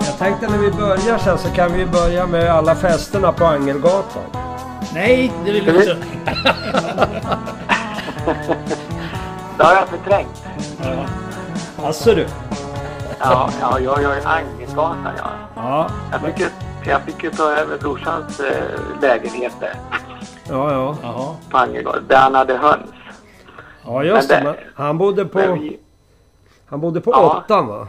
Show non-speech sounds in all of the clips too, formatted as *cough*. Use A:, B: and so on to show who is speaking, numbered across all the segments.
A: Jag tänkte när vi börjar sen så kan vi börja med alla festerna på Angelgatan.
B: Nej, det vill vi inte.
C: Det har jag förträngt.
A: Alltså du?
C: Ja, ja jag gör Angelgatan ja.
A: Ja,
C: Jag fick ju, jag fick ju ta över brorsans eh, lägenhet där
A: ja, ja.
B: Jaha.
C: på Angelgatan. Där han hade höns.
A: Ja just det.
C: Men det-
A: men Han bodde
C: Men
A: på,
C: vi,
A: han bodde på
C: Ja.
A: åttan va?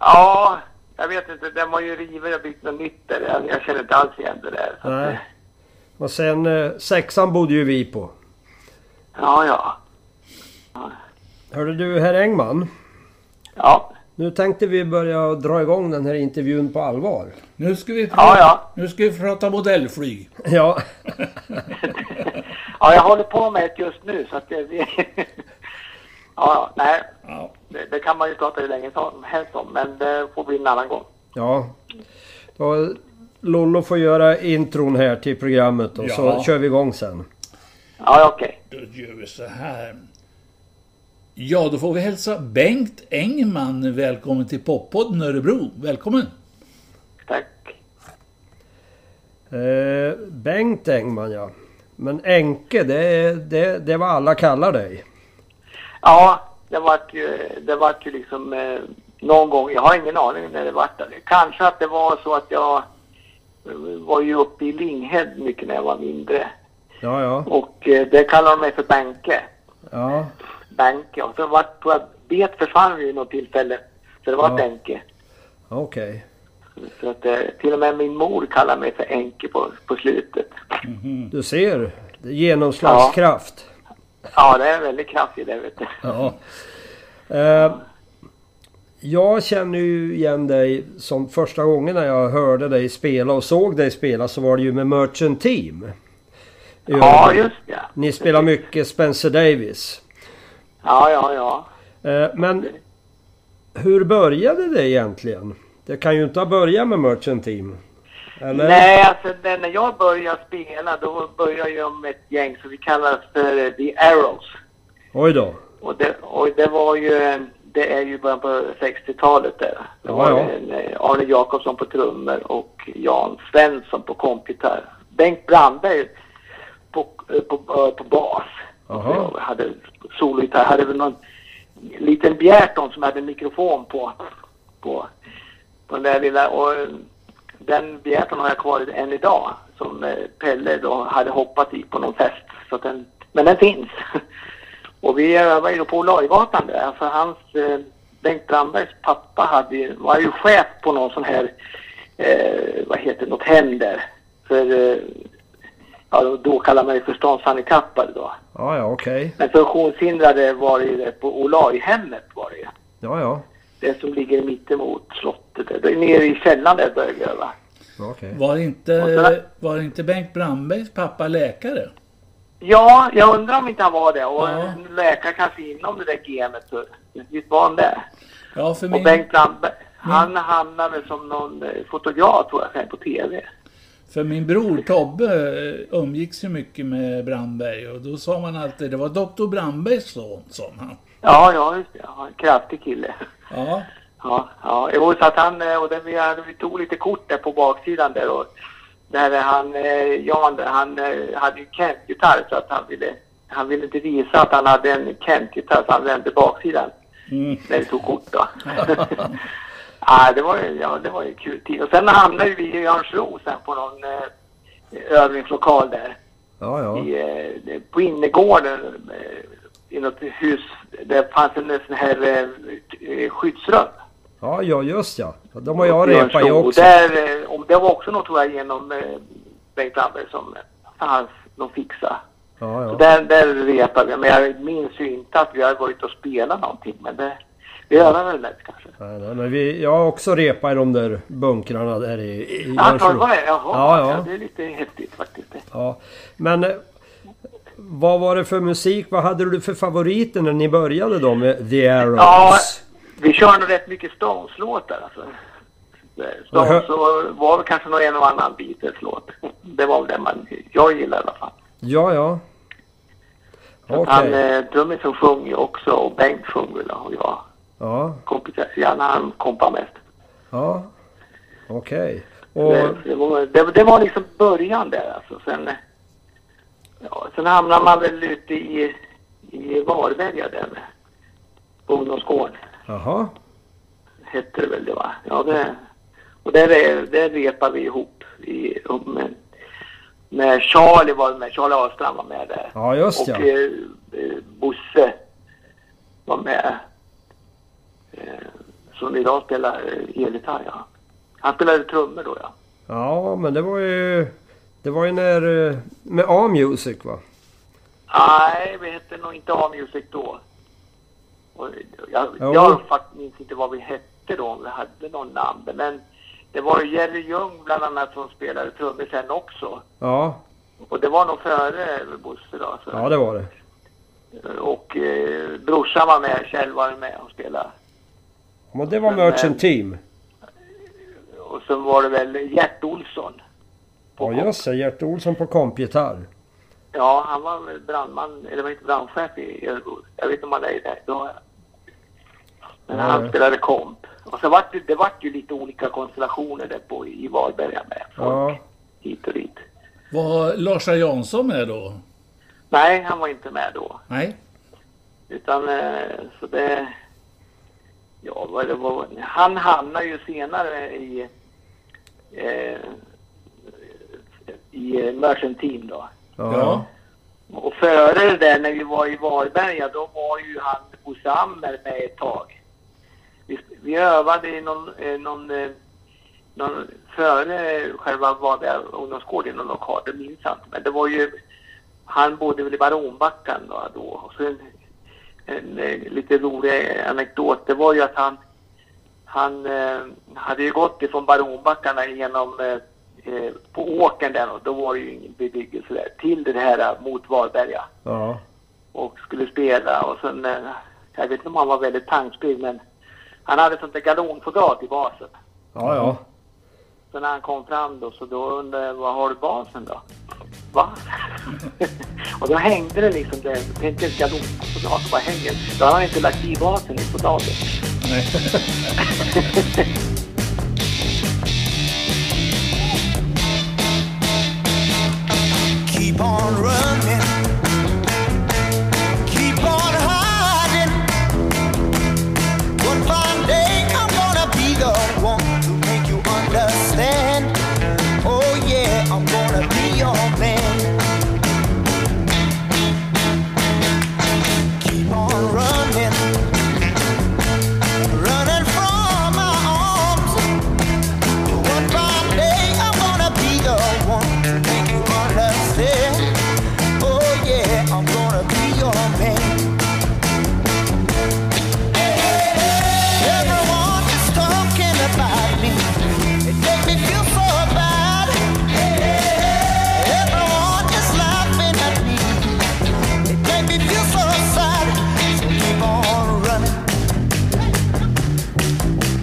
C: ja, jag vet inte. Den var ju riven och byggt något nytt där. Jag, jag känner inte alls igen det där. Så att, eh,
A: Nej. Och sen eh, sexan bodde ju vi på.
C: Ja, ja.
A: Hörde du herr Engman?
C: Ja,
A: Nu tänkte vi börja dra igång den här intervjun på allvar. *laughs*
B: Nu ska vi,
C: ja. ja. *laughs*
B: nu ska vi prata modellflyg.
A: Ja,
C: Ja, jag håller på med det just nu så att det... *laughs* ja, ja, nej.
B: Ja.
C: Det, det kan man ju prata hur länge som helst om, men det får bli en annan gång.
A: ja. Då, Lollo får göra intron här till programmet och så
B: Ja.
A: kör vi igång sen.
C: Ja, ja, okej.
B: Då gör vi så här. Ja, då får vi hälsa Bengt Engman välkommen till Poppodden Örebro. Välkommen!
C: Tack.
A: Eh, Bengt Engman ja. Men Enke, det, är- det, det är vad alla kallar dig.
C: Ja, det vart ju, det vart ju liksom eh, någon gång. Jag har ingen aning när det vart. det. Kanske att det var så att jag eh, var ju uppe i Linghed mycket när jag var mindre.
A: Ja, ja.
C: Och eh, det kallade de mig för Benke.
A: Ja,
C: Benke. Och så vart, tror jag, bet försvann vid något tillfälle. Så det var
A: Ja.
C: Benke.
A: okej.
C: Så att, eh, till och med min mor kallar mig för Enke på, på slutet.
A: Du ser, det är genomslagskraft.
C: Ja, det är en väldigt kraft i det, vet du.
A: Ja. Eh, jag känner ju igen dig som första gången när jag hörde dig spela och såg dig spela så var det ju med Merchant Team.
C: Ja, just det.
A: Ni spelar mycket Spencer Davis.
C: Ja, ja, ja.
A: Eh, men hur började det egentligen? Det kan ju inte ha börjat med Merchant Team. Eller?
C: Nej, alltså när när jag började spela då började jag med ett gäng som vi kallar för eh, The Arrows.
A: Oj då.
C: Och det, och det var ju, eh, det är ju början på 60-talet där. Det
A: Ja,
C: var
A: ja.
C: en, eh, Arne Jakobsson på trummor och Jan Svensson på kompitar. Bengt Brandberg på, eh, på, eh, på bas.
A: Jaha.
C: Och Jag hade sologitarr, hade väl någon liten Bjärton som hade en mikrofon på, på, på den där lilla. Och eh, den Bjärton har jag kvar än idag som eh, Pelle då hade hoppat i på någon fest. Så att den, men den finns. *laughs* Och vi eh, var ju då på Olajgatan där, för hans, eh, Bengt Brandbergs pappa hade, ju- var ju chef på någon sån här, eh, vad heter det, något hem där. För, eh, ja, då kallar man det förståndshandikappade då.
A: Ja, ja, okej.
C: Men funktionshindrade var det ju där på Olajhemmet var det ju.
A: Ja, ja.
C: Det som ligger mittemot slottet där. Det är nere i källaren där började jag va?
A: Okej.
B: Var
C: Och sådär.
B: inte, var inte Bengt Brandbergs pappa läkare?
C: Ja, jag undrar om inte han var det. Och
B: Ja.
C: en läkare kanske inom det där gemet. så- Visst var han det?
B: Ja, för
C: Och
B: min,
C: Bengt Brandberg, han hamnade som någon eh, fotograf tror jag sen på TV.
B: för min bror Tobbe eh, umgicks ju mycket med Brandberg och då sa man alltid det var doktor Brandbergs son, sa man.
C: Ja, ja, just det. Ja, en kraftig kille.
B: Ja,
C: Ja, ja. Jo, så att han, eh, och det, vi, hade- vi tog lite kort där på baksidan där och där han, eh, Jan där, han eh, hade ju Kent-gitarr så att han ville, han ville inte visa att han hade en Kent-gitarr så han vände baksidan
B: Mm.
C: när vi tog kort då. ja, det var ju, ja, det var ju kul tid. Och sen hamnade ju vi i Örnsköldsvik sen på någon eh, övningslokal där
A: Ja, ja.
C: i, eh, på innergården eh, i något hus. Där fanns en sån här eh, t- eh, skyddsrum.
A: Ja, ja, just ja. De har jag repat i
C: Och
A: också.
C: Där, eh, om det var också något tror jag genom eh, Bengt Brandberg som fanns, de fixa.
A: Ja,
C: Så
A: ja.
C: där, där repade vi. Men jag minns ju inte att vi hade varit och spelat någonting. Men det, vi övade väl lätt kanske.
A: Nej, nej, men vi, jag har också repat i de där bunkrarna där i, i
C: Ja, tar du
A: Örnsköldsvik.
C: var det?
A: Ja,
C: Jaha,
A: ja.
C: det är lite häftigt faktiskt.
A: Ja. Men eh, vad var det för musik? Vad hade du för favoriter när ni började då med The Arrows?
C: Ja, vi kör nog rätt mycket Stones-låtar alltså.
A: Jaha.
C: Stones så var väl kanske någon en och annan Beatles-låt. Det var väl det man, jag gillade i alla fall.
A: Ja, ja. Okej.
C: Han eh, trummisen sjöng ju också och Bengt sjöng väl och jag.
A: Ja,
C: Kompisar, gärna han kompar mest.
A: ja. Okej.
C: Det,
A: Och...
C: det, var, det, det var liksom början där alltså. Sen, eh, ja, sen hamnade man väl ute i, i Varberga där. med- På ungdomsgården
A: Jaha.
C: hette det väl det va? Ja det. Och där, är- där repade vi ihop i, om, eh, när Charlie var med, Charlie Ahlstrand var med där.
A: Ja, just
C: och
A: ja.
C: eh, eh, Bosse var med. Eh, som idag spelar eh, elgitarr ja. Han spelade trummor då ja.
A: Ja, men det var ju... Det var ju när... eh, Med A-Music va?
C: Nej, vi hette nog inte A-Music då. Och jag
A: Jo.
C: jag faktiskt minns inte vad vi hette då, om vi hade någon namn. Men det var ju Jerry Ljung bland annat som spelade trummor sen också.
A: Ja,
C: Och det var nog före Bosse då. Så.
A: ja det var det.
C: Och eh, brorsan var med, Kjell var med och spelade.
A: Men det var
C: Men, eh,
A: Merchant Team.
C: Och sen var det väl Gert Olsson.
A: Ja, just det. Gert Olsson på kompgitarr.
C: Ja, han var väl brandman, eller var inte brandchef i Örebro. Jag vet inte om han är det. Då, men
A: Ja,
C: han
A: ja.
C: spelade komp. Och så vart det, det vart ju lite olika konstellationer där på i Varberga med. Folk
A: Ja.
C: hit och dit.
B: Var Larsa Jansson med då?
C: Nej, han var inte med då.
B: Nej.
C: Utan eh, så det... Ja, vad det var. Han hamnade ju senare i... Eh, i eh, Merchant Team då.
A: Ja.
B: Ja.
C: Och före det där när vi var i Varberga då var ju han hos Ammer med ett tag. Vi, vi övade i någon, eh, någon, eh, någon före själva Varberga ungdomsgård i någon lokal, det minns jag inte. Men det var ju, han bodde väl i Baronbackan då. då. Och så en, en, eh, lite rolig anekdot, det var ju att han, han eh, hade ju gått ifrån Baronbackarna genom eh, eh, på åkern där och då var det ju ingen bebyggelse där, till det här eh, mot Varberga
A: Ja.
C: och skulle spela och sen, eh, jag vet inte om han var väldigt tankspel men han hade sånt där galonfodrat i basen.
A: Ja, ja.
C: Så när han kom fram då så då undrade jag, vad har du basen då? Va? *laughs* och då hängde det liksom där, tänk ett galonfodrat, vad hänger? Då hade han inte lagt i basen i fodratet.
B: *laughs* Nej.
D: Keep on running. Keep on hiding. But one day I'm gonna be the one to make you understand. Oh yeah, I'm gonna be your man. Keep on running. Running from my arms. One fine day I'm gonna be the one to make you understand. Oh yeah, I'm gonna be your man. Everyone is talking about me. It makes me feel so bad. Everyone is laughing at me. It makes me feel so sad. So keep on running.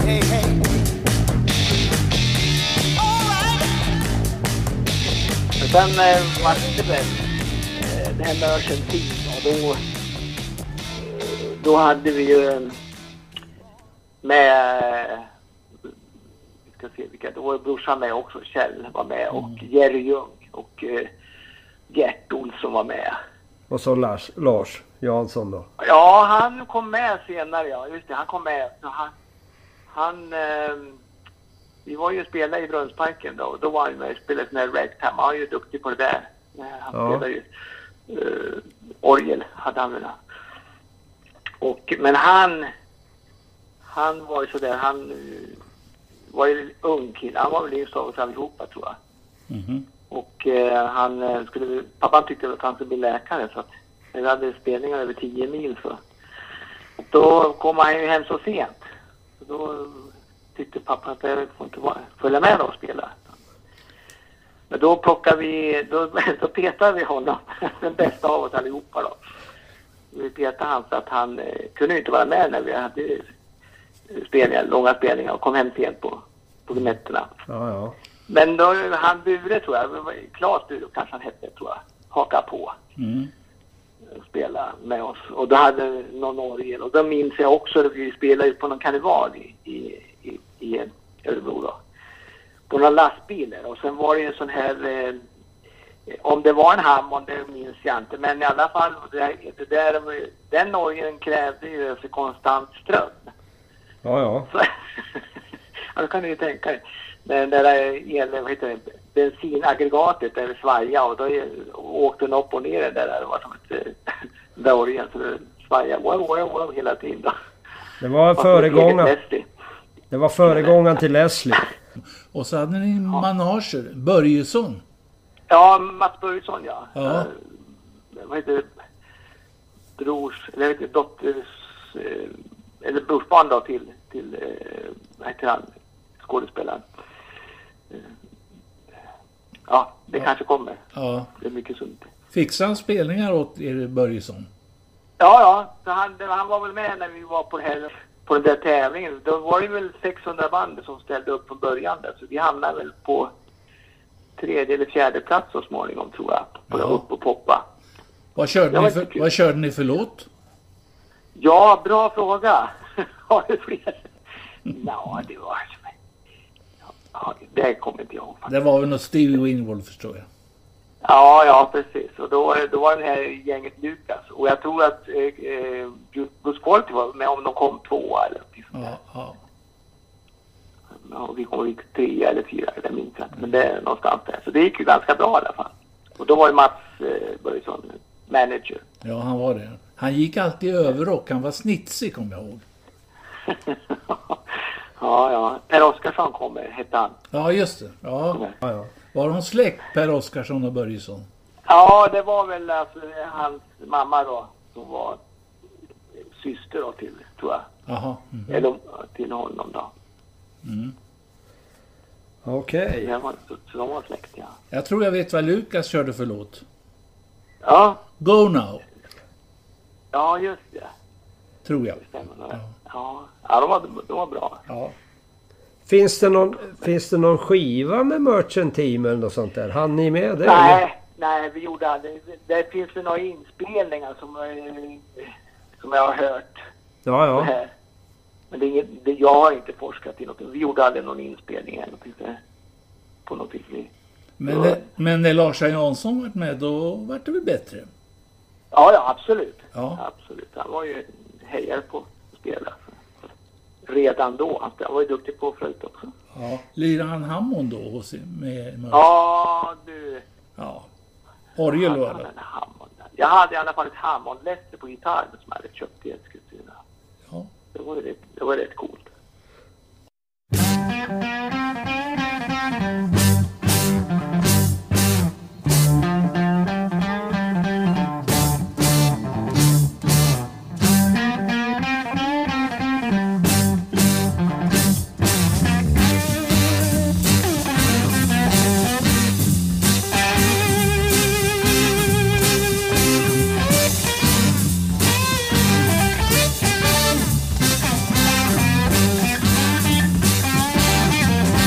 D: Hey hey. All right.
C: Men sen eh, var det väl eh, det här Merchant Team och då, eh, då hade vi ju eh, med, eh, vi ska se vilka, då var ju brorsan med också, Kjell var med och Jerry Ljung och eh, Gert Olsson var med.
A: Och så Lars, Lars Jansson då.
C: Ja, han kom med senare ja, just det, han kom med. Så han, han eh, vi var ju och spelade i Brunnsparken då och då var han med och spelade sån här ragtime. Han var ju duktig på det där. Eh, Han
A: Ja.
C: spelade ju eh, orgel, hade han väl. Och, men han, han var ju sådär, han eh, var ju en ung kille. Han var väl yngst av oss allihopa tror jag.
B: Mhm.
C: Och eh, han eh, skulle, pappan tyckte väl att han skulle bli läkare så att när vi hade spelningar över 10 mil så då kom han ju hem så sent. Så då tyckte pappan att jag får inte vara, följa med och spela. Men då plockade vi, då, *laughs* då petade vi honom, *laughs* den bästa av oss allihopa då. Vi petade han så att han eh, kunde ju inte vara med när vi hade eh, spelningar, långa spelningar och kom hem sent på, på nätterna.
A: Ja, ja.
C: Men då, han Bure tror jag, Claes Bure kanske han hette tror jag, haka på.
B: Mm.
C: Spe- spelade med oss. Och då hade någon orgel. Och då minns jag också att vi spelade på någon karneval i, i, i, i Örebro då. På några lastbilar. Och sen var det en sån här... Eh, om det var en Hammond, det minns jag inte. Men i alla fall, det, det där, den orgeln krävde ju för konstant ström.
A: Ja, ja.
C: Så, *laughs* ja, då kan du ju tänka dig. När det där el, vad heter det, bensinaggregatet där det svajade och då är- åkte den upp och ner den där. Det var som ett eh, *laughs* där orgeln så det svajade wow, wow, wow hela tiden. Då.
A: Det var föregångaren. Det var föregångaren till Leslie.
B: Och så hade ni manager, Börjesson.
C: Ja, Mats Börjesson ja.
B: Ja.
C: Eh, vad heter det? Brors, eller vet du, dotters, eh, eller brorsbarn då till, till eh, vad heter han, skådespelaren. Eh, Ja, det kanske kommer.
B: Ja.
C: Det är mycket sunt.
B: Fixade han spelningar åt er Börjesson?
C: Ja, ja. Så han, det- han var väl med när vi var på, det här, på den där tävlingen. Då var det väl 600 band som ställde upp från början där. Så vi hamnade väl på tredje eller fjärde plats så småningom tror jag. På
B: Ja.
C: Upp och poppa.
B: Vad körde,
C: Ja,
B: ni
C: men-
B: för, vad körde ni för låt?
C: Ja, bra fråga. *laughs* Har du fler? Ja, det var... Ja, det kommer inte jag ihåg.
B: Det var väl något Stevie Winwood förstår jag.
C: Ja, ja precis. Och då, då var det här gänget Lukas. Och jag tror att eh, eh, Gus Quality var med om de kom tvåa eller någonting sånt där.
B: Ja, ja.
C: Ja, och vi kom inte trea eller fyra, jag minns inte. Men det är någonstans där. Så det gick ju ganska bra i alla fall. Och då var ju Mats eh, Börjesson manager. *laughs*
B: ja, han var det. Han gick alltid i överrock. Han var snitsig kommer jag ihåg.
C: ja, ja. Per Oskarsson kommer, hette han.
B: Ja, just det. Ja.
A: Ja, ja.
B: Var de släkt, Per Oscarsson och Börjesson?
C: Ja, det var väl alltså, hans mamma då som var syster då till, tror jag.
B: Jaha. Mm.
C: Eller om- till honom då.
A: Okej.
C: Det var, så, så de var släkt, ja.
B: Jag tror jag vet vad Lukas körde för låt.
C: Ja,
B: Go Now,
C: ja just det.
B: tror jag.
C: Stämmer nog. Ja, ja de, var, de var bra.
B: Ja.
A: Finns, det någon, finns det någon skiva med Merchant Team eller något sånt där? Hann ni med det? eller?
C: Nej, nej, vi gjorde aldrig. Det finns ju några inspelningar som, eh, som jag har hört.
A: Ja, ja.
C: här. Men det är inget, det, jag har inte forskat i något. Vi gjorde aldrig någon inspelning eller någonting sådär. På något vis.
B: Men, det, men när Lars Jansson varit med, då vart det väl bättre?
C: Ja, ja, absolut.
B: Ja.
C: Absolut. Han var ju en hejare på att spela. Redan då. Han spelade- han var ju duktig på flöjt också.
B: Ja. Lirade han Hammond då hos, med, med
C: Ja, du.
B: ja. Orgel
C: Han
B: och
C: hade
B: alla.
C: en Hammond. Jag hade i alla fall ett Hammond-läster på gitarren som jag hade köpt i Eskilstuna.
B: Ja.
C: Det var ju rätt, det var rätt coolt.
E: Thank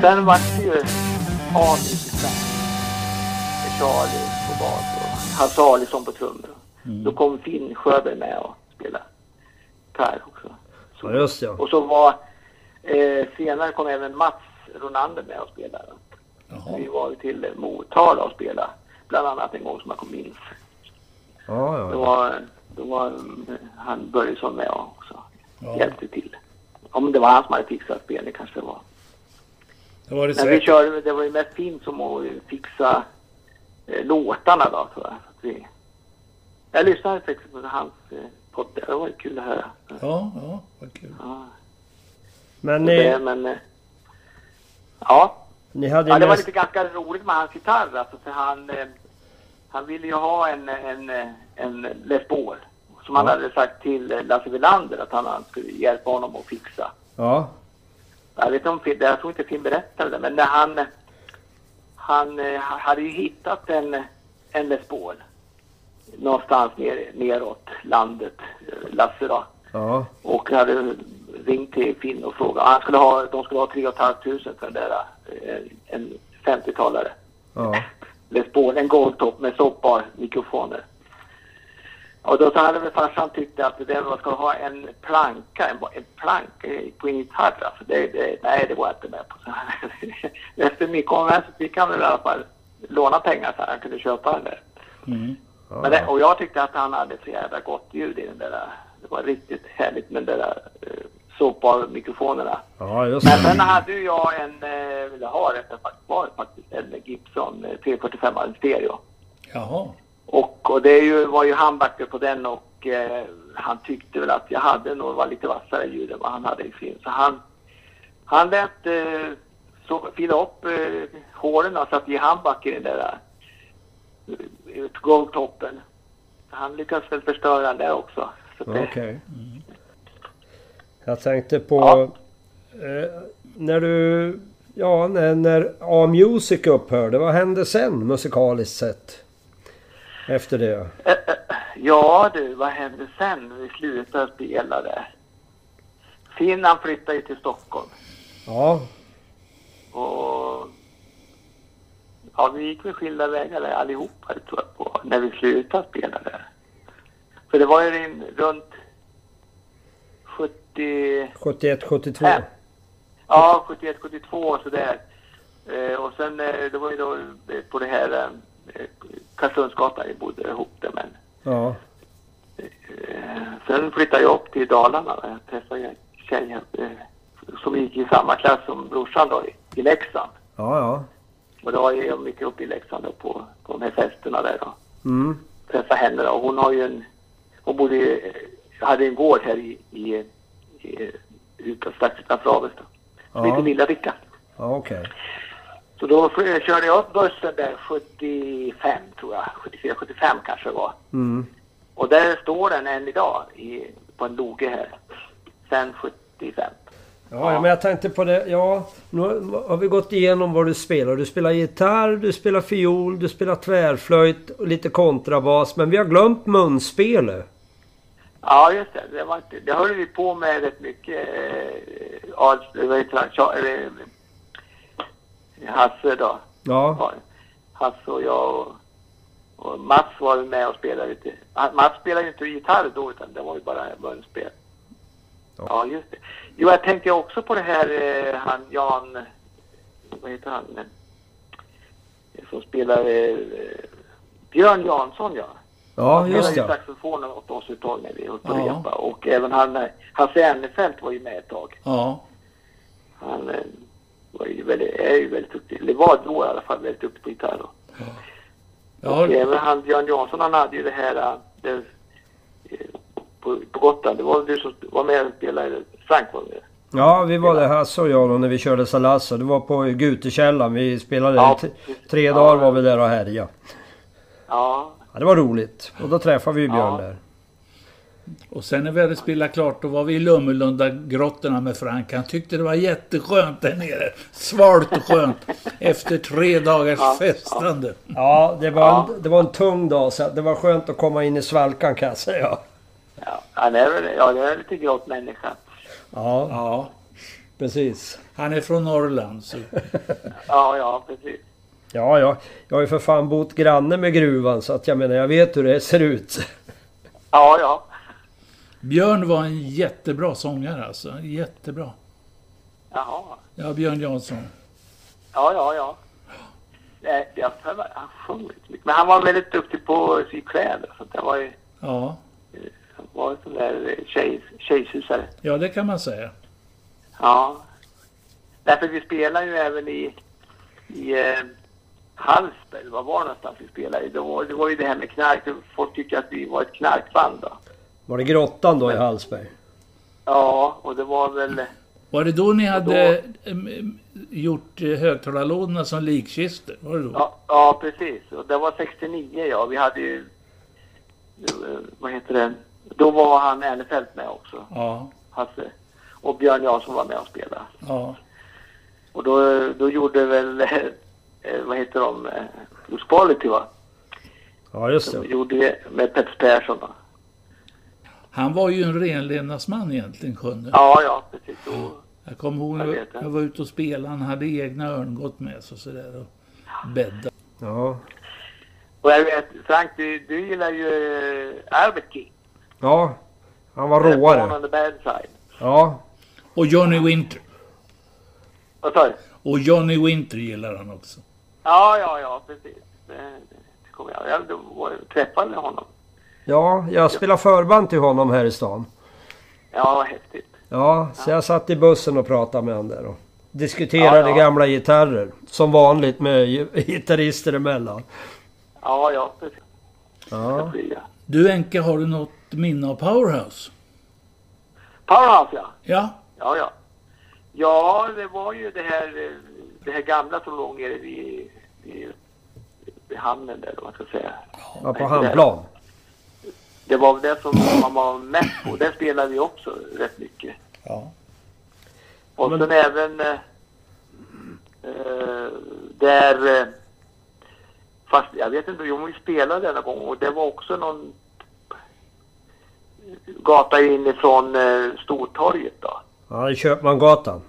C: sen vart det ju Ali med Charlie på bas och Hasse Alisson på trummor. Då kom Finn Sjöberg med och spelade Per också.
A: Ja, just ja.
C: Och så var, eh, senare kom även Mats Ronander med och spelade.
B: Jaha.
C: Vi var till Motala och spelade. Bland annat en gång som jag kommer minns.
A: Ja,
C: Då
A: ja.
C: var, då var mm, han Börjesson med också.
B: Ja.
C: Hjälpte till. Om det var han som hade fixat spelning kanske det var.
B: Det var det
C: Men vi
B: säkert.
C: körde, det var ju mest fint som att fixa eh, låtarna då tror jag. Att vi, jag lyssnade faktiskt på hans eh, podd. Det var ju kul att höra.
B: Ja, ja, vad kul.
C: Ja,
A: Men
C: det,
A: ni,
C: men, eh, ja.
A: ni hade
C: Ja,
A: ju
C: det var
A: näst...
C: lite ganska roligt med hans gitarr alltså, för han, eh, han ville ju ha en, en, en Les Paul. Som han
A: Ja.
C: hade sagt till eh, Lasse Welander att han, han skulle hjälpa honom att fixa.
A: Ja,
C: Jag vet inte om Finn, jag tror inte Finn berättade det, men när han, han eh, hade ju hittat en, en Les Paul. Någonstans ner, neråt landet, eh, Lasse då.
A: ja,
C: Och hade ringt till Finn och frågat. Han skulle ha, de skulle ha 3 500 för den där, eh, en 50-talare.
A: ja.
C: Les Paul, en golvtopp med soppar, mikrofoner. Och då så hade väl farsan tyckt att det där man ska ha en planka, en, en planka på en gitarr. Alltså det, det, nej, det var jag inte med på. Så här. *laughs* Efter mycket om så fick han väl i alla fall låna pengar så han kunde köpa den där.
B: Mm.
A: ja,
C: Men det, och jag tyckte att han hade så jävla gott ljud i den där. Det var riktigt härligt med den där eh, soppar-mikrofonerna.
A: ja just det.
C: Men sen hade ju jag en, eh, eller har rättare sagt var faktiskt, en Gibson eh, 345 stereo.
B: Jaha.
C: Och, och det är ju, var ju handbacker på den och eh, han tyckte väl att jag hade nog var lite vassare ljud än vad han hade i sin. Så han, han lät eh, så, fila upp eh, håren och satte i handback i den där eh, golvtoppen. Han lyckades väl förstöra den där också. Så att det-
A: Okej. Jag tänkte på... Eh, när du... Ja, när, när A-Music upphörde, vad hände sen musikaliskt sett? Efter det?
C: Ja du, vad hände sen? Vi slutade spela där. Finn han flyttade ju till Stockholm.
A: Ja,
C: Och ja, vi gick väl skilda vägar där allihopa tror jag på, när vi slutade spela där. För det var ju in, runt 70...
A: 71, 72.
C: Här. Ja, 71, 72 sådär. Eh, och sen, eh, det var ju då eh, på det här eh, Karlslundsgatan vi bodde ihop där. Men
A: Ja,
C: eh, sen flyttade jag upp till Dalarna och jag träffade en tjej eh, som gick i samma klass som brorsan då i, i Leksand.
A: ja, ja.
C: Och då var jag mycket uppe i Leksand då på, på de här festerna där då.
A: Mm.
C: Träffa henne då. Hon har ju en, hon bodde ju, hade en gård här i, i, i utan, strax utanför Avesta.
A: Ja.
C: Lite Lilla Vicka.
A: Ja, okej.
C: Så då fly- körde jag upp bussen där 75 tror jag, 74, 75 kanske det var.
A: Mm.
C: Och där står den än idag i, på en loge här. Sen 75.
A: Ja, ja, men jag tänkte på det. Ja, nu har vi gått igenom vad du spelar. Du spelar gitarr, du spelar fiol, du spelar tvärflöjt och lite kontrabas. Men vi har glömt munspelet.
C: Ja, just det. Det, var inte, det höll vi på med rätt mycket. Eh, Ars- vad heter han? Tja- eller, eh, Hasse då.
A: Ja,
C: Ja, Hasse och jag och, och Mats var ju med och spelade lite. Han- Mats spelade ju inte gitarr då, utan det var ju bara munspel.
A: Ja.
C: Ja, just det. Jo, jag tänkte också på det här eh, han Jan... Vad heter han? Eh, Som spelar... Eh, Björn Jansson, ja.
A: ja
C: Han
A: just
C: spelade ju
A: det.
C: saxofon åt oss ett tag när vi höll på
B: Ja.
C: att repa. Och även han, eh, Hasse Ernefelt var ju med ett tag.
B: Ja.
C: Han eh, var ju väldigt, är ju väldigt duktig, eller var då i alla fall väldigt duktig på gitarr. då.
B: Jag har,
C: Och eh, även han Björn Jansson, han hade ju det här eh, det, eh, på, på Gotland. Det var väl du som var med och spelade, Frank var med.
A: Ja, vi var det Hasse och jag då när vi körde Salasso. Det var på Gutekällan. Vi spelade
C: Ja,
A: t-
C: precis.
A: tre
C: Ja.
A: dagar var vi där och härjade.
C: Ja,
A: Ja, det var roligt. Och då träffade vi Björn
C: Ja.
A: där.
B: och sen när vi hade spelat klart då var vi i Lummelundagrottorna med Frank. Han tyckte det var jätteskönt där nere. Svalt och
C: *laughs*
B: skönt. Efter tre dagars festande.
A: Ja, det var, En, det var en tung dag så det var skönt att komma in i svalkan kan jag säga.
C: ja. han är väl, ja det är lite grått människa.
A: Ja,
B: Ja.
A: precis.
B: Han är från Norrland. Så.
C: Ja, ja, precis.
A: Ja, ja. Jag har ju för fan bott granne med gruvan så att jag menar, jag vet hur det ser ut.
C: Ja, ja.
B: Björn var en jättebra sångare alltså. Jättebra.
C: Jaha.
B: Ja, Björn Jansson.
C: Ja, ja, ja. Nej, Jag har för mig- han sjöng lite mycket. Men han var väldigt duktig på att sy kläder. Så det var ju
B: Ja,
C: han var en sån där eh, tjej, tjejsusare.
B: ja det kan man säga.
C: Ja. Därför vi spelar ju även i, i eh, Hallsberg. Vad var det någonstans vi spelade? Det var, det var ju det här med knark. Folk tyckte att vi var ett knarkband då.
A: Var det grottan då i Hallsberg?
C: Ja, och det var väl...
B: Var det då ni hade em, gjort eh, högtalarlådorna som likkistor? Var det då?
C: Ja, ja, precis. Och det var 69, ja. Vi hade ju... eh, Vad heter det? Då var han Ernefelt med också,
B: Ja,
C: Hasse. Och Björn Jansson var med och spelade.
B: ja,
C: Och då, då gjorde väl... *laughs* eh, Vad heter de? eh, Bruce Quality, va?
A: Ja, just
C: De
A: det.
C: gjorde det med Peps Persson. Då.
B: Han var ju en renlevnadsman egentligen, Sjunne.
C: Ja, ja, precis. Och,
B: Jag kommer ihåg
C: Jag
B: när
C: vet det.
B: jag var ute och spelade. Han hade egna örngott med sig och sådär. Och bäddar.
A: Ja,
C: och jag vet, Frank, du, du gillar ju eh, Albert King.
A: ja han var
C: Born
A: råare.
C: on the bad side.
A: Ja,
B: Och Johnny Winter.
C: Vad sa du?
B: Och Johnny Winter gillar han också.
C: Ja, ja, ja, precis. Det, det kommer jag. Jag då var- träffade honom.
A: ja, jag spelade förband till honom här i stan.
C: Ja, vad häftigt.
A: Ja, så jag satt i bussen och pratade med honom där och diskuterade
C: Ja, ja.
A: gamla gitarrer. Som vanligt med gi- *laughs* gitarrister emellan.
C: Ja, ja, precis.
A: Ja.
C: Ja.
B: Du Enke, har du något minne av Powerhouse?
C: Powerhouse, ja.
B: Ja,
C: Ja, ja. Ja, det var ju det här, eh, det här gamla som låg nere vid, vid, vid hamnen där, eller vad man ska säga.
A: ja, på handplan.
C: Det var väl det som man var mest på. Det spelade vi också rätt mycket.
B: Ja.
C: Och
B: Men-
C: sen även eh, eh, där... Eh, fast jag vet inte om vi spelade denna gång och det var också någon gata inifrån eh, Stortorget då.
A: Ja, i Köpmangatan.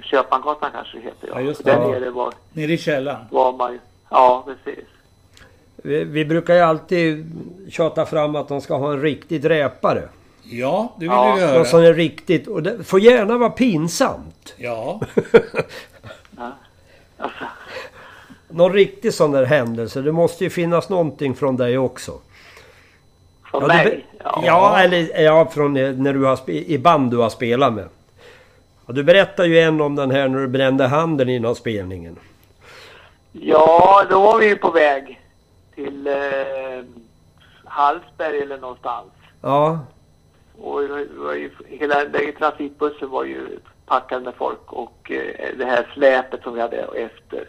C: Köpmangatan kanske det heter.
B: Ja, just det.
C: där
A: Ja.
C: nere var,
B: nere i källaren.
C: var man ju... Ja, precis.
A: Vi, vi brukar ju alltid tjata fram att de ska ha en riktig dräpare.
B: Ja, det vill
C: Ja,
B: vi
A: Någon som
B: höra.
A: är riktigt... Och det får gärna vara pinsamt. *laughs*
B: Ja,
C: Alltså,
A: Någon riktig sån där händelse. Det måste ju finnas någonting från dig också.
C: från
A: Ja, du,
C: mig.
A: be- ja. eller ja, från eh, när du har spe- i band du har spelat med. Ja, du berättade ju en om den här när du brände handen innan spelningen.
C: Ja, då var vi ju på väg till eh, Hallsberg eller någonstans.
A: Ja,
C: Och det var ju, hela den där trafikbussen var ju packad med folk och eh, det här släpet som vi hade efter.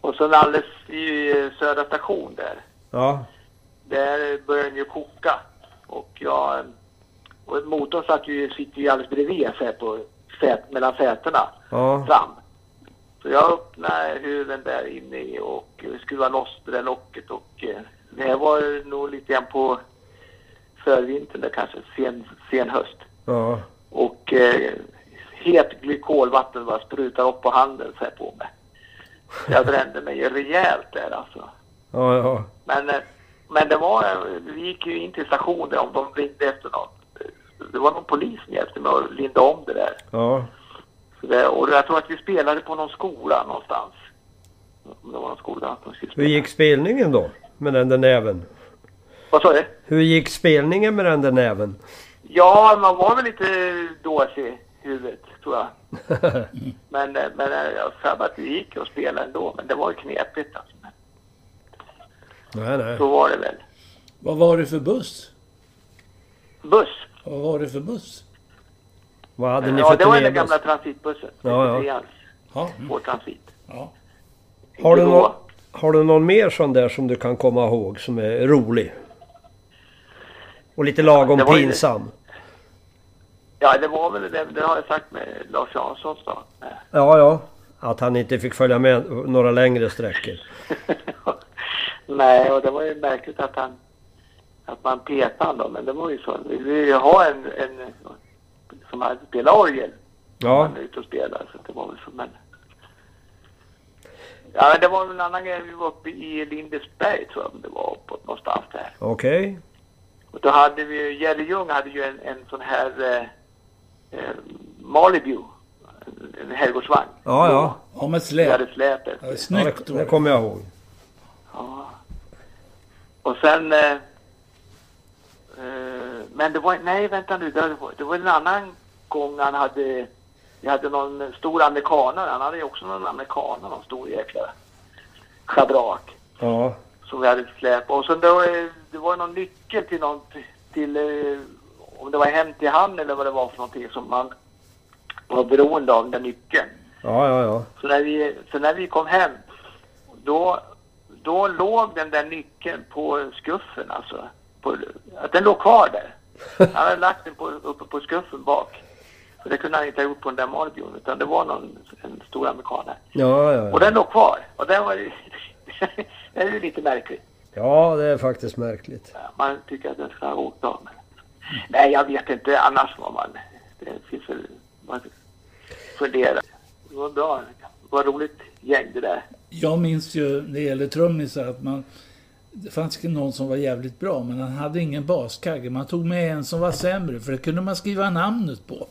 C: Och sen alldeles i eh, Södra station där,
A: ja,
C: där började den ju koka. Och jag, och motorn satt ju, sitter ju alldeles bredvid sätet, och sät, mellan sätena
A: ja,
C: fram. Så jag öppnade huven där inne i och skruvade loss det där locket och eh, det här var nog lite grann på förvintern där kanske, sen, sen höst.
A: ja.
C: Och eh, het glykolvatten bara sprutar upp på handen så här på mig. Jag brände mig ju rejält där alltså.
A: ja, ja.
C: Men, eh, men det var, vi gick ju in till stationen om de ringde efter något. Det var någon polis som hjälpte mig att linda om det där.
A: ja.
C: Så det, och jag tror att vi spelade på någon skola någonstans. Om Det var någon skola som vi skulle
A: Hur
C: spela.
A: gick spelningen då? Med den där näven?
C: Vad sa du?
A: Hur gick spelningen med den där näven? *laughs*
C: Ja, man var väl lite dåsig i huvudet tror jag. Men, eh, men eh, jag sa bara att det gick att spela ändå. Men det var ju knepigt alltså. Men
A: nej, nej.
C: Så var det väl.
B: vad var det för buss?
C: Buss.
B: Vad var det för buss?
A: Vad hade ni
C: Ja,
A: för
C: det var ju den
A: turnébuss?
C: gamla transitbussen.
A: Ja, ja.
C: 93ans,
B: Ja, mm,
C: Vår transit.
B: ja.
A: Har du,
C: Då-
A: någon, har du någon mer sån där som du kan komma ihåg som är rolig? Och lite lagom
C: Det var ju-
A: pinsam?
C: Ja, det var väl det. Det har jag sagt med Lars Janssons då.
A: Ja, ja. Att han inte fick följa med några längre sträckor.
C: *laughs* Nej, och det var ju märkligt att han att man petade honom. Men det var ju så. Vi ville ju ha en, en som hade spelat orgel.
A: Ja.
C: man är ute och spelar. Så det var väl så, men... Ja, men det var väl en annan grej. Vi var uppe i Lindesberg tror jag det var, uppåt någonstans där.
A: Okej.
C: Och då hade vi ju, Gällivung hade ju en, en sån här eh, eh, Malibu, en, en herrgårdsvagn.
A: Ja, ja.
B: Ja, med
C: Vi
B: släp.
C: hade släp efter.
B: Ja, det är
A: ja
B: Snyggt.
A: det, det kommer jag ihåg.
C: Ja. Och sen... Eh, eh, men det var... Nej, vänta nu. Det var, det var en annan gång han hade... Vi hade någon stor amerikanare. Han hade ju också någon amerikanare, någon stor jäkla schabrak.
A: Ja.
C: Som vi hade släp. Och sen då, eh, det var någon nyckel till någon... Till, eh, om det var hem till han eller vad det var för någonting som man var beroende av, den nyckeln.
A: Ja, ja, ja.
C: Så när vi, så när vi kom hem, då, då låg den där nyckeln på skuffen alltså. På, att den låg kvar där. Han hade lagt den på, uppe på skuffen bak. Så det kunde han inte ha gjort på den där Malbjörn, utan det var någon, en stor amerikan där.
A: Ja, ja,
C: Och
A: ja.
C: den låg kvar. Och den var ju, *laughs* den är ju lite märklig.
A: ja, det är faktiskt märkligt.
C: Man tycker att den ska ha åkt av. Men... Nej, jag vet inte annars vad man... Det finns väl... Man funderar. Det var bra. Det var roligt gäng det där.
B: Jag minns ju när det gäller trummisar att man... Det fanns någon som var jävligt bra, men han hade ingen baskagge. Man tog med en som var sämre, för det kunde man skriva namnet på.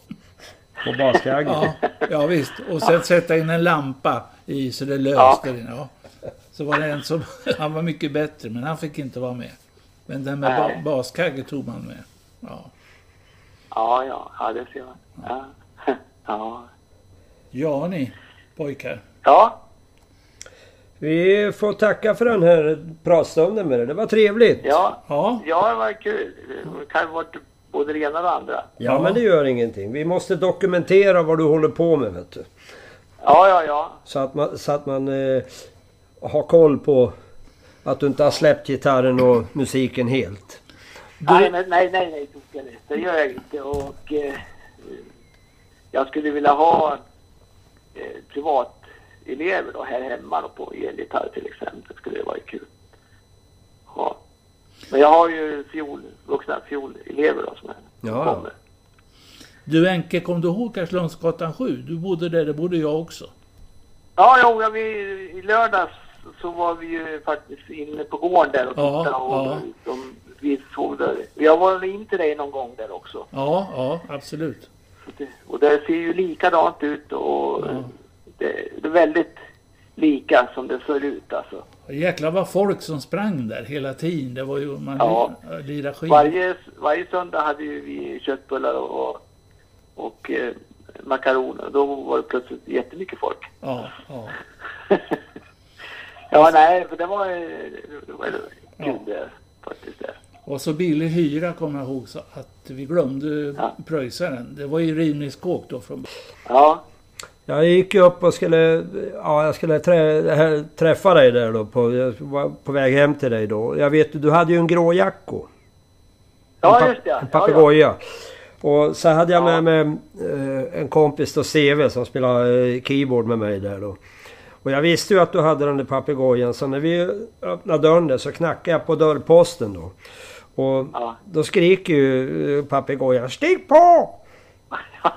A: På baskaggen.
B: Ja, *laughs* ja visst. Och sen sätta in en lampa i så det
C: Ja.
B: löste. Ja. Ja. Så var det en som... *laughs* Han var mycket bättre, men han fick inte vara med. Men den med
C: Nej.
B: ba, baskagge tog man med. Ja.
C: Ja, ja, ja det ser man. Ja. *laughs* Ja.
B: ja, ni pojkar.
C: ja,
A: Vi får tacka för den här pratstunden med dig. Det var trevligt.
C: ja,
B: Ja,
C: ja, det var kul. Det kan ha varit både det ena och det andra.
A: Ja, men det gör ingenting. Vi måste dokumentera vad du håller på med, vet du.
C: Ja, ja, ja.
A: Så att man, så att man eh, har koll på att du inte har släppt gitarren och musiken helt.
C: Nej, men, nej, nej, nej, Toke, det- det gör jag inte. Och eh, jag skulle vilja ha eh, privatelever då här hemma då på elgitarr till exempel. Skulle det vara kul. Ja. Men jag har ju fiol, vuxna fiolelever då som är,
A: Ja, ja.
C: kommer.
B: du Enke, kom du ihåg Karlslundsgatan 7? Du bodde där, det bodde jag också.
C: Ja, jo, ja, vi, i lördags så var vi ju faktiskt inne på gården där och
B: Ja,
C: tittade och
B: ja.
C: de, vi såg där. Jag var in till dig någon gång där också.
B: Ja, ja, absolut.
C: Så det- Och det ser ju likadant ut och eh, det, det är väldigt lika som det ser ut alltså.
B: Jäklar vad folk som sprang där hela tiden. Det var ju, man
C: Ja.
B: li- lirade skidor.
C: Varje, varje söndag hade ju vi köttbullar och, och, och eh, makaroner. Då var det plötsligt jättemycket folk.
B: Ja, ja.
C: Ja, nej, för det var, eh, det var kul det faktiskt. Det.
B: Och så billig hyra kommer jag ihåg så att vi glömde
C: Ja.
B: pröjsa den. Det var ju rivningskåk då
C: *laughs*
B: från
C: Ja,
A: Jag gick ju upp och skulle, ja, jag skulle trä, här- träffa dig där då. På, jag var på väg hem till dig då. Jag vet ju, du hade ju en grå jacko.
C: ja
A: en
C: just det. ja.
A: En
C: Ja, ja.
A: papegoja. Och så hade jag
C: Ja.
A: med mig eh, en kompis då, Steve, som spelade eh, keyboard med mig där då. Och jag visste ju att du hade den där papegojan så när vi öppnade dörren där så knackade jag på dörrposten då. Och
C: Ja.
A: då skriker ju eh, papegojan ”Stig på!”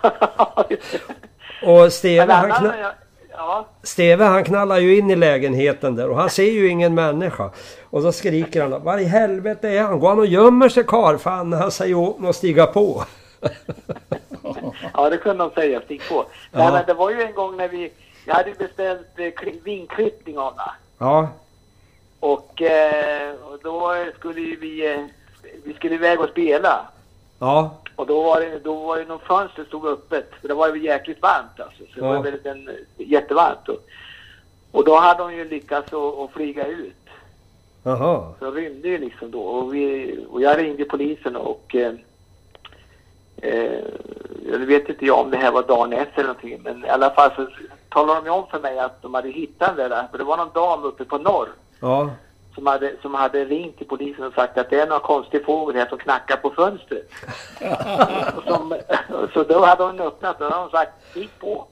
C: *laughs*
A: Och Steve
C: Men
A: han,
C: annars,
A: kna-
C: ja, ja,
A: Steve han knallar ju in i lägenheten där och han ser ju ingen människa. Och så skriker han ”Var i helvete är han? Går han och gömmer sig karlfan?” när han säger åt honom att stiga på.
C: ja, det kunde de säga. Stig på.
A: Ja.
C: Nej, men det var ju en gång när vi, jag hade ju beställt eh, kli- vinklippning av det.
A: Ja,
C: Och, eh, och då skulle ju vi, eh, vi skulle iväg och spela.
A: ja,
C: Och då var det, då var det någon fönster stod öppet. För det var ju jäkligt varmt alltså. Så det
A: Ja.
C: var väldigt, en, jättevarmt. Och, och då hade de ju lyckats att, att flyga ut.
A: jaha.
C: Så jag rymde ju liksom då. Och, vi, och jag ringde polisen och... Eh, eh, jag vet inte jag om det här var dagen efter eller någonting. Men i alla fall så talade de ju om för mig att de hade hittat det där. För det var någon dam uppe på norr
A: Ja,
C: som hade, som hade ringt till polisen och sagt att det är någon konstig fågel här som knackar på fönstret. Och som, *laughs* så då hade hon öppnat och då hade hon sagt stig på.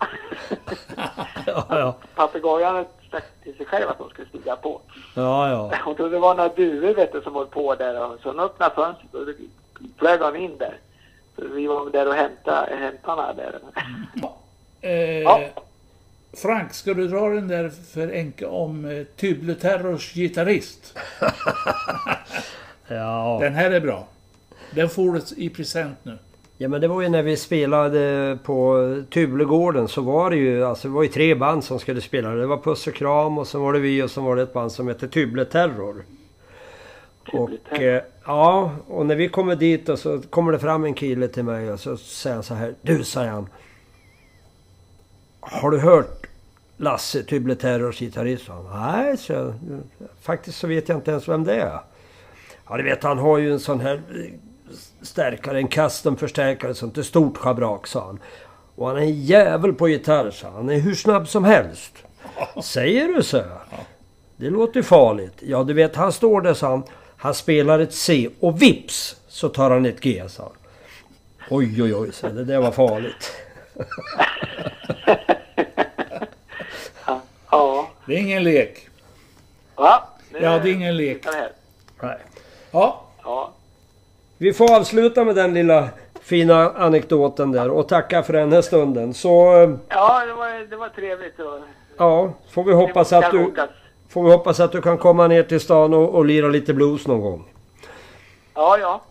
C: *laughs*
A: ja, ja.
C: Papegojan hade sagt till sig själv att hon skulle stiga på.
A: ja, ja.
C: *laughs* Hon trodde det var några duvor vet du, som höll på där och så hon öppnade fönstret och då flög hon in där. Så vi var där och hämtade, hämtade henne där.
B: Eh,
C: *laughs* Ja.
B: Frank, ska du dra den där för Enke om eh, Tüble Terrors gitarrist?
A: Ja.
B: Den här är bra. Den får du i present nu.
A: ja, men det var ju när vi spelade på Tublegården så var det ju, alltså det var ju tre band som skulle spela. Det var Puss och Kram och sen var det vi och sen var det ett band som hette Tuble Terror. Och,
C: Tuble-terror.
A: eh, ja, och när vi kommer dit och så kommer det fram en kille till mig och så säger han så här. Du, säger han. Har du hört Lasse Tuble Terrors gitarrist? sa han. Nej, så jag. Faktiskt så vet jag inte ens vem det är. Ja, du vet han har ju en sån här eh, stärkare, en custom-förstärkare, sånt där stort schabrak, sa han. Och han är en jävel på gitarr, sa han. Han är hur snabb som helst. Säger du, så? Det låter ju farligt. Ja, du vet, han står där, sa han. Han spelar ett C och vips så tar han ett G, sa han. Oj, oj, oj, så det där var farligt.
C: Ja.
B: Det är ingen lek.
C: Va? Nu-
B: Ja, det är ingen lek.
C: Titta här.
A: Nej.
B: Ja,
C: Ja.
A: Vi får avsluta med den lilla fina anekdoten där och tacka för den här stunden. Så eh,
C: ja, det var, det var trevligt. Och,
A: ja, får vi hoppas att du... Får vi hoppas att du kan komma ner till stan och, och lira lite blues någon gång.
C: Ja, ja.